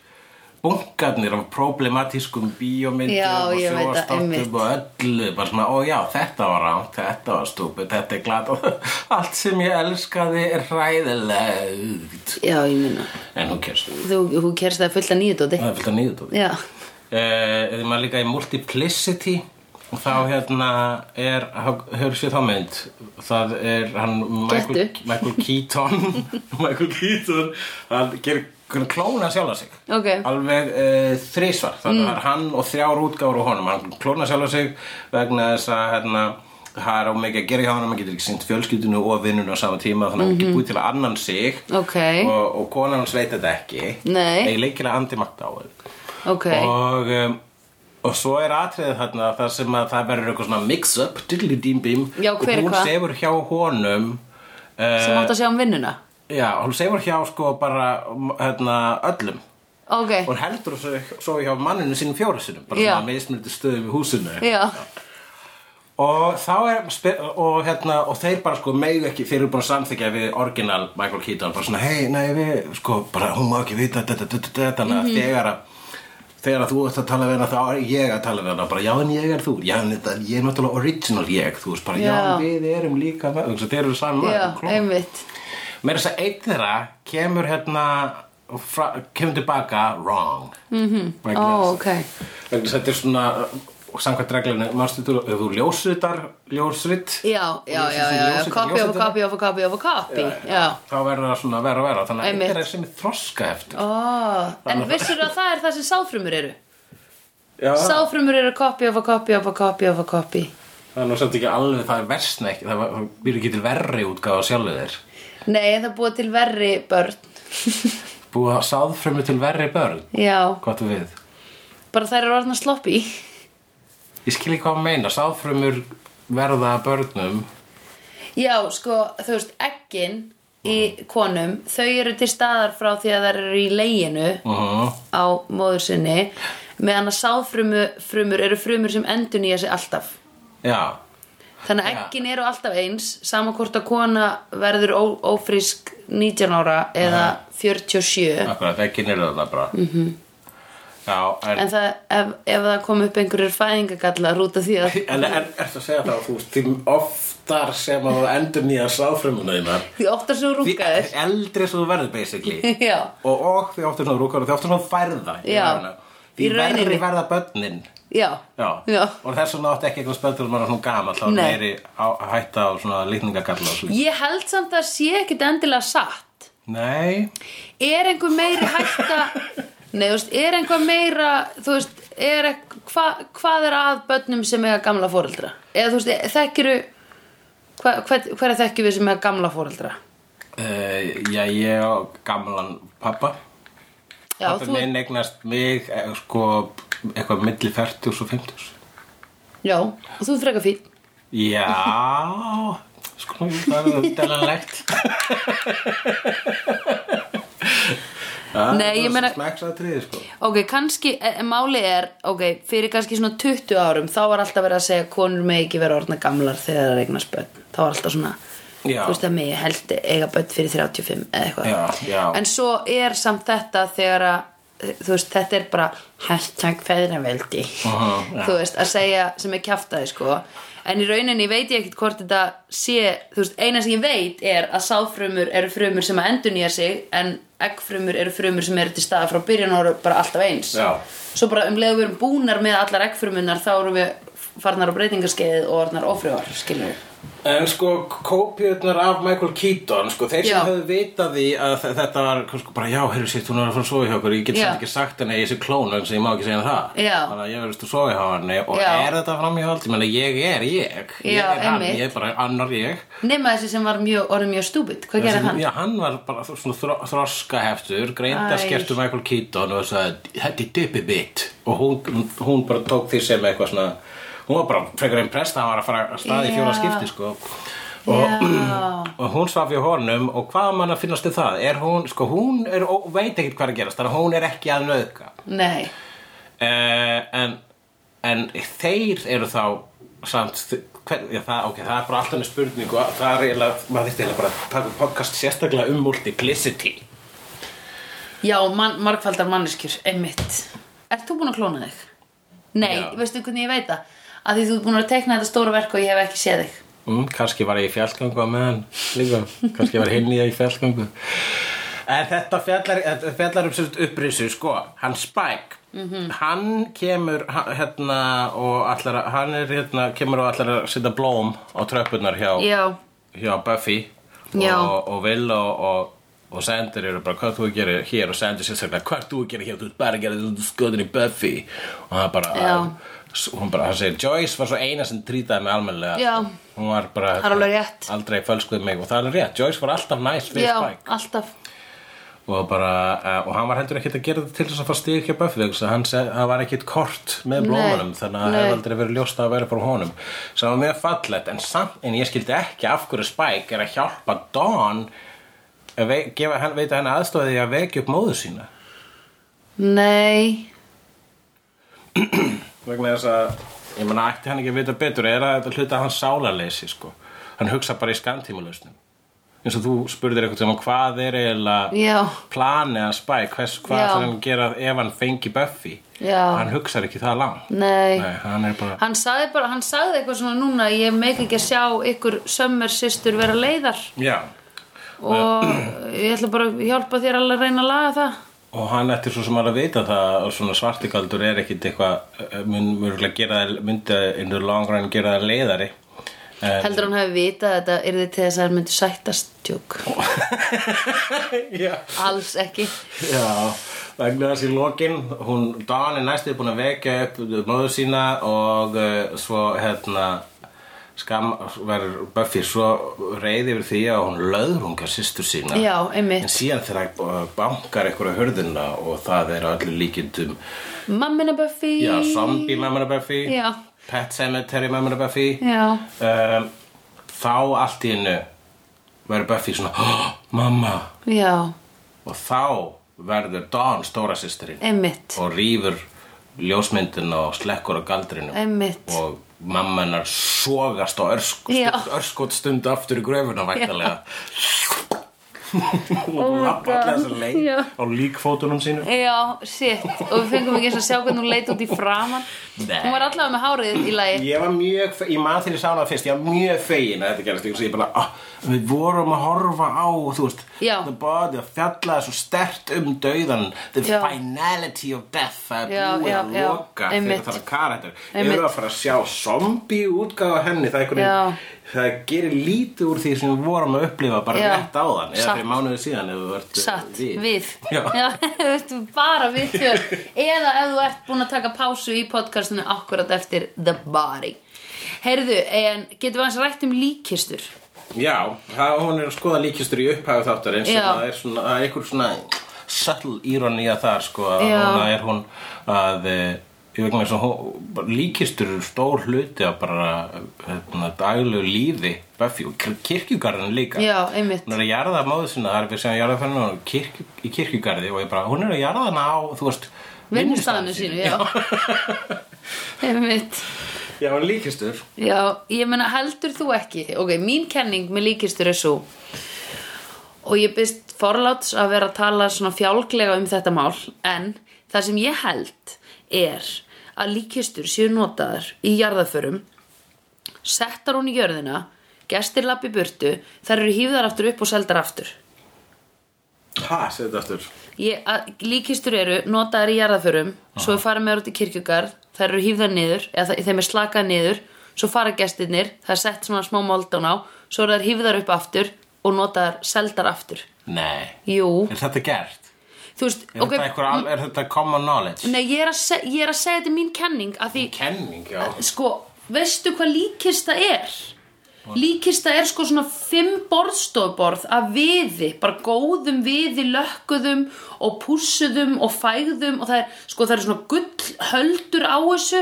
bunkarnir af problematískum bíómyndum Já, og ég veit það, einmitt. sjóastáttum og öllu bara svona, ó já, þetta var rámt þetta var stúpid, þetta er glad allt sem ég elskaði er hræðilegt Já, ég minna, en hún kerst þú, hún kerst það fullt að nýju dóti það er fullt að nýðu tóti Já, Eh, eða maður líka í Multiplicity og þá hérna er höfðu sér þá mynd það er hann Michael, Gettu. Michael Keaton Michael Keaton hann gerir hann klóna sjálfa sig Ok. Mm. alveg uh, þrísvar þannig að það er hann og þrjár útgáfur og honum hann klóna sjálfa sig vegna þess að hérna það er á mikið að gera hjá hann hann getur ekki sýnt fjölskyldinu og vinnun á sama tíma þannig að hann getur búið til að annan sig Mhm. ok, og, og konan hans veit þetta ekki Nei. eða leikilega andi makta á þetta ok og, um, og svo er atriðið þarna þar sem að það verður eitthvað svona mix-up dillidimbim Já, og hver er hún hvað? sefur hjá honum uh, Sem átt að sjá um vinnuna já, hún sefur hjá sko bara um, hérna, öllum Ok, hún heldur svo, svo hjá manninu sínum fjóru sinum bara Já. svona meðsmyndu stöðum í húsinu já, og þá er spe- og, hérna, og þeir bara sko megu ekki þeir eru bara samþykja við orginal Michael Keaton bara svona hei, nei við sko bara hún má ekki vita þetta, þetta, þetta þannig Mhm. að þegar að þegar að þú ert að tala við hana þá er ég að tala við hana bara já en ég er þú, já en þetta ég er náttúrulega original ég, þú veist bara já, Já. en við erum líka með, þú veist þeir eru saman já, einmitt meira þess að einn þeirra kemur hérna fra, kemur tilbaka wrong mm -hmm. Mhm. Ó, ok, Vegna þess að þetta er svona og samkvæmt reglunni, marstu þú, ef þú ljósritar ljósrit já, já, já, já, já. Ljósritar, Copy of a ljósritar. copy of a copy of a copy Já, eh, þá verður það svona verra og verra þannig að Einmitt. Oh. þetta er sem er þroska eftir ó, en vissirðu að það er það sem sáfrumur eru? já, Sáfrumur eru copy of a copy of a copy of a copy það er nú samt ekki alveg það er versna ekki, það var- það býr ekki til verri útgáð á sjálfu þér Nei, það er búið til verri börn búið að sáðfrömmu til verri börn Já, hvað þú við? bara þær eru orðna sloppy ég skil ekki hvað að meina, sáðfrömmur verða að börnum Já, sko, þú veist, eggin í konum, þau eru til staðar frá því að þær eru í leginu uh á móður sinni meðan að sáfrumur eru frumur sem endur nýja sig alltaf já, Þannig að Já. eggin eru alltaf eins sama hvort að kona verður ó, ófrísk 19 ára eða 47 akkurat, ekki nýrða það bara mm -hmm. Mhm. já, en en það, ef, ef það kom upp einhverjur fæðingagallar út af því að En er, ertu að segja það að þú veist, því oftar sem að þú endur nýja sáfrumuna þínar því oftar sem þú Því rúkaðir eldri sem þú verður basically Já, og, og því oftar sem þú rúkar og því oftar sem þú færða Já. Því Í rauninni. verður verða börnin já, Já. já Og þess vegna átti ekki eitthvað spöldur maður er svona gamal þá er Nei. meiri á, hætta á svona lítningagalla og svona Ég held samt að sé ekkit endilega satt Nei, Er einhver meiri hætta Nei, þú veist, er einhver meira Þú veist, er ekk, hva, hvað er að börnum sem eiga gamla fóreldra? Eða þú veist, þekkiru hva, hver, hver er þekkjum við sem eiga gamla fóreldra? uh, já ég á gamlan pappa Já, Pappa þú, minn eignast mig eh, sko eitthvað milli 40 og 50 já, og þú er frekar fín Já, sko, það er delanlegt Nei, ég meina- Smekksatriði, sko Ok, kannski, e- máli er Ok, fyrir kannski svona 20 árum Þá var alltaf verið að segja að konur með ekki vera orðna gamlar Þegar það regnast börn Þá var alltaf svona, Já. þú veist að mig held eiga börn fyrir 35 eða eitthvað Já, já. En svo er samt þetta þegar að Þú veist, þetta er bara hashtag feðraveldi Aha, já. Þú veist, að segja sem er kjaftaði, sko En í rauninni veit ég ekkert hvort þetta sé Þú veist, eina sem ég veit er að sáfrumur eru frumur sem að endurnýja sig En eggfrumur eru frumur sem eru til staða frá byrjun og eru bara alltaf eins Já. Svo bara um leið og við erum búnar með allar eggfrumunar Þá erum við farnar á breytingarskeið og orðnar ofrjóar, skilur við En sko, kópiurnar af Michael Keaton, sko, þeir sem Já. höfðu vitað því að þe- þetta var, sko, bara, já, heyrðu sétt, hún er að fara að sofa hjá okkur, ég get Já. samt ekki sagt henni að ég sé klón, þannig að ég má ekki segja henni það. Já. Þannig að ég verðist að sofa hjá henni og Já. er þetta framhjáhald, ég meina, ég er ég, ég Já, er hann, einmitt. ég er bara annar ég. Nema þessi sem var mjög, orðið mjög stúbid Hvað gerði hann? Já, hann var bara svona þro, þroskaheftur, greindaskertu Michael Keaton og sagði, þetta er dippi bit og hún, hún bara tók því sem eitthvað svona hún var bara frekar impressed að hann var að fara að staði í fjóra Já. skipti sko. og, Já. og hún svaf hjá honum og hvað mann að finnast þið það er hún, sko, hún er, ó, veit ekkert hvað er að gerast þannig að hún er ekki að nöðka Nei, uh, en, en þeir eru þá samt hver, já, það, ok, það er bara alltaf einu spurning og það er eiginlega, maður þyrfti eiginlega bara að taka upp podcast sérstaklega um multiplicity já, man, margfaldar manneskjur, einmitt Ert þú búin að klóna þig? Nei, Já. veistu hvernig ég veit það? Að því þú ert búin að teikna þetta stóra verk og ég hef ekki séð þig mm, kannski var ég í fjallgangu að meðan líka, kannski var hinn í að í fjallgangu en þetta fjallar, þetta fjallar um sérst upprisu sko, hann Spike hann kemur hann- hérna og allar að- hann er hérna, kemur og allar að setja blóm á tröppunar hjá Já, hjá Buffy Já. og, og Will og, og, og Sander eru bara hvað þú að gera hér og Sander sérstaklega hvað þú að gera hér, þú ert bara að gera þetta skotin í Buffy og hann bara Já. s- hún bara, hann segir, Joyce var svo eina sem trýtaði mig almennilega Já. hún var bara, Það er alveg rétt. aldrei fölskuði mig og það er alveg rétt, Joyce var alltaf næs við já, Spike alltaf og, bara, eh, og hann var heldur ekkert að gera þetta til þess að fá stík hjá Buffy vegna þess að hann, seg, hann var ekkert kort með Nei, blómanum þannig að það nei. hefði aldrei verið ljóst að vera frá honum sem var mjög fallegt en, samt, en ég skildi ekki af hverju Spike er að hjálpa Dawn að vei- gefa, hann, veita henni aðstofið því að vekja upp móður sína Nei, vegna þess að ég meina ætti hann ekki að vita betur er að þetta hluta hans sálarleysi sko hann hugsa bara í skamtímulausnum eins og þú spurðir eitthvað sem hvað er eiginlega já, planið að Spike hvers, hvað Já. þarf hann að gera ef hann fengi Buffy Já. hann hugsar ekki það langt nei Nei, hann er bara Hann sagði bara, hann sagði eitthvað svona núna Ég meik ekki að sjá ykkur sömmer systur vera leiðar Já. Og ég ætla bara að hjálpa þér alveg að reyna að laga það og hann eftir svo sem hann að vita það og svona svartikaldur er ekkit eitthvað eh, mun mörgulega gera það myndi in the long run gera það leiðari en, Heldur hann hafi vitað að þetta yrði til þess að hann myndi sættast tjók Já Alls ekki Já, vegna þess í lokin hún, Dawn er næstu búin að vekja upp móður sína og uh, svo hérna skam verður Buffy svo reyði yfir því að hún löðrunga systur sína Já, en einmitt síðan þegar hann bankar eitthvað á hörðina og það er á öllu líkindum Mammina Buffy já, zombie mamma Buffy Já. pet cemetery mamma Buffy Já, um, þá allt í hennu verður Buffy svona "Hó, mamma já, og þá verður Dawn stóra systurinn einmitt og rýfur ljósmyndina og slekkur á galdrinu Einmitt og mamma hennar sogast á örsk, Já. örskot stund aftur í gröfuna væntalega Oh my og lappa allir God. þessar leið Já. á líkfótunum sínu Já, shit, og við fengum ekki eins að sjá hvernig hún leit út í framan Nei. Hún var allavega með hárið í lagi Ég var mjög, fe- ég maður þegar ég sá hana fyrst, ég var mjög fegin að þetta gerast ykkur, ég bara, ah, við vorum að horfa á, þú veist, Já. the body að fjallaði svo stert um dauðan, the Já. finality of death, það Já, er búið já, að já, loka einmitt. fyrir þarna karættur. Ég Einmitt. eru að fara að sjá zombie útgáfa henni, það er Já. einhvern það gerir lítið úr því sem við vorum að upplifa bara Já. rétt áðan, eða Satt. fyrir mánuði síðan ef eh, við vart Satt, við Já. Já, þú veist, bara við tjör Eða ef þú ert búin að taka pásu í podcastinu akkurat eftir The Body Heyrðu, en getum við aðeins rætt um líkistur? Já, það, hún er að skoða líkistur í upphæðu þáttar eins og Já. það er svona, það er einhver svona subtle ironía þar sko að Já. hún er hún að eh, ég vegna þess að hún, bara líkistur eru stór hluti að bara hérna, daglegu lífi Buffy og kirkjugarðin líka Já, einmitt hún er að jarða móðu sinna, það er við sem að jarða fyrir hún kirk, í kirkjugarði og ég bara, hún er að jarða hana á, þú veist Vinnustaðinu sínum. sínu, já Einmitt Já, hún er líkistur Já, ég meina heldur þú ekki Ok, mín kenning með líkistur er svo og ég byrst forláts að vera að tala svona fjálglega um þetta mál en það sem ég held er að líkistur séu notaðar í jarðaförum settar hún í jörðina gestir lappi burtu, þær eru hýfðar aftur upp og seldar aftur Ha, segðu þetta aftur ég, að, líkistur eru notaðar í jarðaförum svo við fara með þær út í kirkjugarð þær eru hífðar niður, eða þa- þeim er slakað niður svo fara gestirnir, það er sett svona smá moldón á, svo eru þær hífðar upp aftur og notaðar seldar aftur Nei, Jú, er þetta gert? þú veist Er, þetta, einhver, al- er þetta common knowledge? Nei, ég er, að seg, ég er að segja þetta er mín kenning að því, Kenning, já sko, veistu hvað líkista er? Líkista er sko svona fimm borðstofborð af viði, bara góðum viði, lökkuðum og pússuðum og fægðum og það er, sko, það er svona gullhöldur á þessu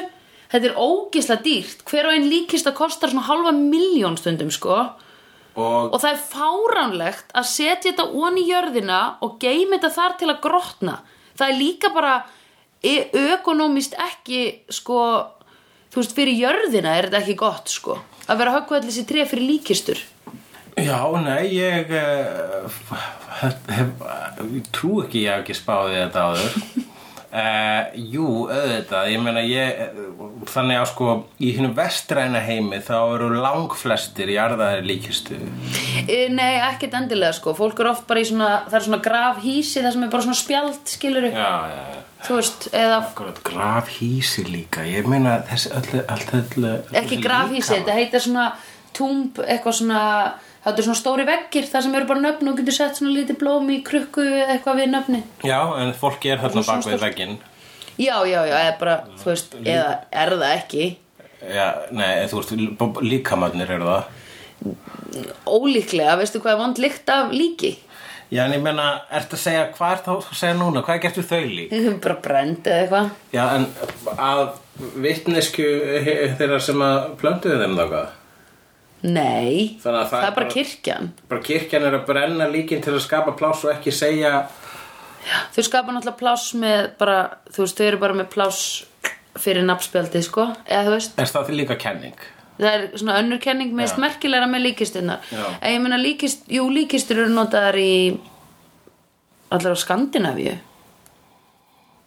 þetta er ógisla dýrt hver og einn líkista kostar svona halva miljón stundum sko og og það er fáránlegt að setja þetta ón í jörðina og geyma þetta þar til að grotna það er líka bara e- ökonomist ekki sko þú veist fyrir jörðina er þetta ekki gott sko að vera höggvað þessi tré fyrir líkistur já, nei, ég eh, hef, hef, ég trú ekki ég hef ekki spáði þetta áður Uh, jú, auðvitað, ég meina ég, þannig að sko í hinn vestræna heimi þá eru langflestir jarðaðir líkistu e, nei ekkert endilega sko fólk er oft bara í svona það er svona grafhísi það sem er bara svona spjald skilur Já, já, já þú veist eða Akkurat, grafhísi líka, ég meina þessi öllu, allt öllu ekki grafhísi, þetta heitir svona túmb, eitthvað svona það er svona stóri veggir, það sem eru bara nöfn og getur sett svona lítið blóm í krukku eitthvað við nöfni Já, en fólk er þarna Svona bak við vegginn já, já, já, eða bara, þú veist eða er það ekki Já, nei, þú veist, líkamarnir eru það ólíklega, veistu hvað er vond lykt af líki Já, en ég meina, ertu að segja, hvað er það að segja núna, hvað gertu þau lík? bara brend eða eitthvað Já, en að vitnesku þeirra sem að plönduðu þeim þáka nei, Þannig að það það er er bara bara- kirkjan Bara kirkjan er að brenna líkin til að skapa pláss og ekki segja þau skapa náttúrulega pláss með bara, þú veist, þau eru bara með pláss fyrir nafnspjaldi, sko eða þú veist Er það því líka kenning? það er svona önnur kenning mest Já. merkilega með líkistinnar Já. en ég meina líkist, jú líkistur eru notaðar í allar á Skandinavíu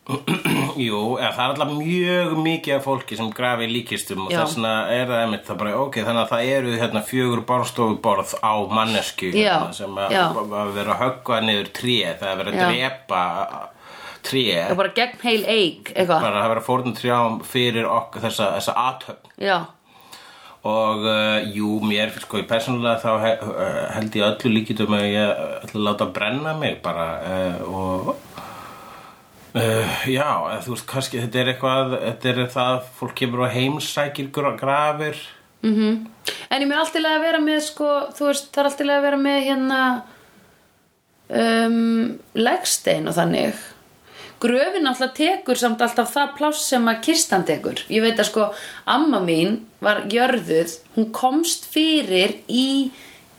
Jú, eða, það er alltaf mjög mikið af fólki sem grafi líkistum og Já. þess vegna er það einmitt það bara, ok, þannig að það eru hérna fjögur borstofuborð á mannesku Já, hérna, sem að já. að vera að höggva niður tré, það er verið Já. að drepa tré, það er bara gegn heil eig eitthvað, Eh. bara það er verið að fórnum trjám fyrir okkur þessa, þessa athöfn já, og uh, jú, mér, sko, ég persónulega þá he, uh, held ég öllu líkitum að ég eh, ætla að láta brenna mig bara uh, og Uh, já, eða þú veist, kannski þetta er eitthvað, þetta er það að fólk kemur og heimsækir gra- grafir en ég meina allt í lagi að vera með sko, þú veist, það er allt í lagi að vera með hérna um, legstein og þannig gröfin alltaf tekur samt alltaf það pláss sem að kistan tekur ég veit að sko, amma mín var jörðuð, hún komst fyrir í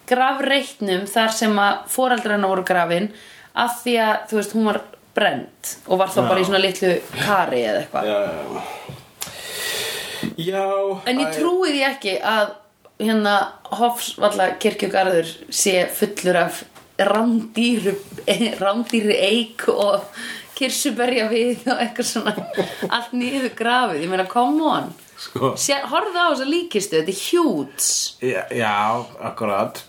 grafreitnum þar sem að foreldrarna voru grafin að því að, þú veist, hún var brend og var þá bara í svona litlu kari eða eitthvað uh, Já En ég trúi því ekki að hérna Hofsvalla kirkjugarður sé fullur af rándýru rándýru eik og kirsuberja við og eitthvað svona allt niður grafið, ég meina come on Sko, Sér, horfðu á þess að líkistu, þetta er hjúts já, já, akkurat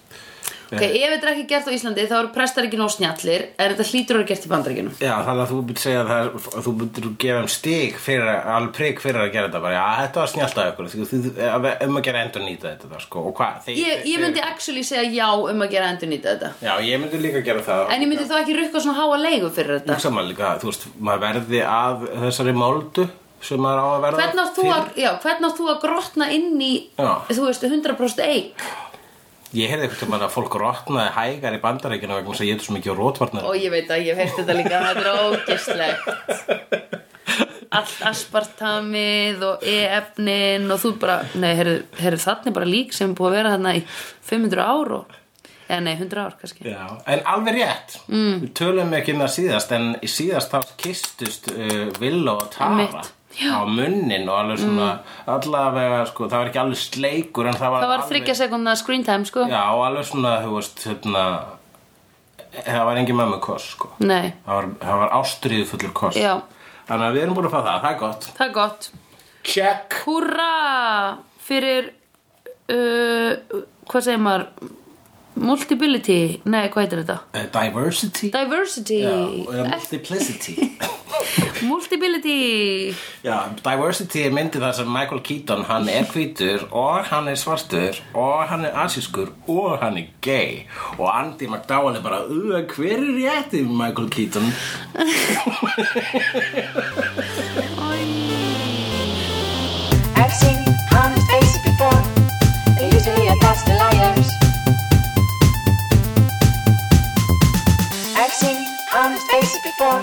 ok, ef þetta er ekki gert á Íslandi þá eru prestar ekki nóg snjallir en þetta hlýtur að vera gert í bandaríkinu Já, þannig að þú myndir segja að það er, að þú myndir gefa um stig fyrir, að- alveg prik fyrir að gera þetta bara, já, þetta var snjált af ykkur þú, þú, að- um að gera endur nýta þetta það, sko, og hvað þeir- ég, ég myndi actually segja já um að gera endur nýta þetta Já, ég myndi líka gera það en ég myndi þá ekki rukka svona háa leigu fyrir þetta Saman líka, þú veist, maður verði af þessari moldu sem maður á að verða hvern átt þú, að- já, hvern átt þú að grotna inn í Já. þú veist 100% eik Ég heyrði eitthvað mann að fólk rotnaði hægar í bandarækina vegna þess að ég eitthvað svo mikið rótvarnar og ég veit að ég hef heyrt þetta líka þetta er ógislegt allt aspartamið og e-efnin og þú bara, nei, heyrðu, heyrðu þannig bara lík sem er búið að vera þarna í 500 ár og, eða nei, 100 ár kannski Já, en alveg rétt mm. Við tölum ekki um það síðast en í síðast þá kistust uh, Villa og Tara Einmitt. á munnin og alveg svona allavega, sko, það var ekki alveg sleikur en það var, það var alveg, þryggja sekundna screen time sko Já, og alveg svona, þú veist, hérna það var engin mömmu koss, sko nei, það var, það var ástriðu fullur koss Já. Þannig að við erum búin að fá það, það er gott það er gott Check hurra fyrir uh, hvað segir maður multibility, nei, hvað heitir þetta uh, Diversity Diversity Já, og eða Multiplicity Multibility Já, Diversity er myndið þar sem Michael Keaton, hann er hvítur og hann er svartur og hann er asískur og hann er gay og Andy McDowell er bara "Ú, hver er rétti Michael Keaton? I've seen honest faces before. They're usually a pass to liars. I've seen honest faces before.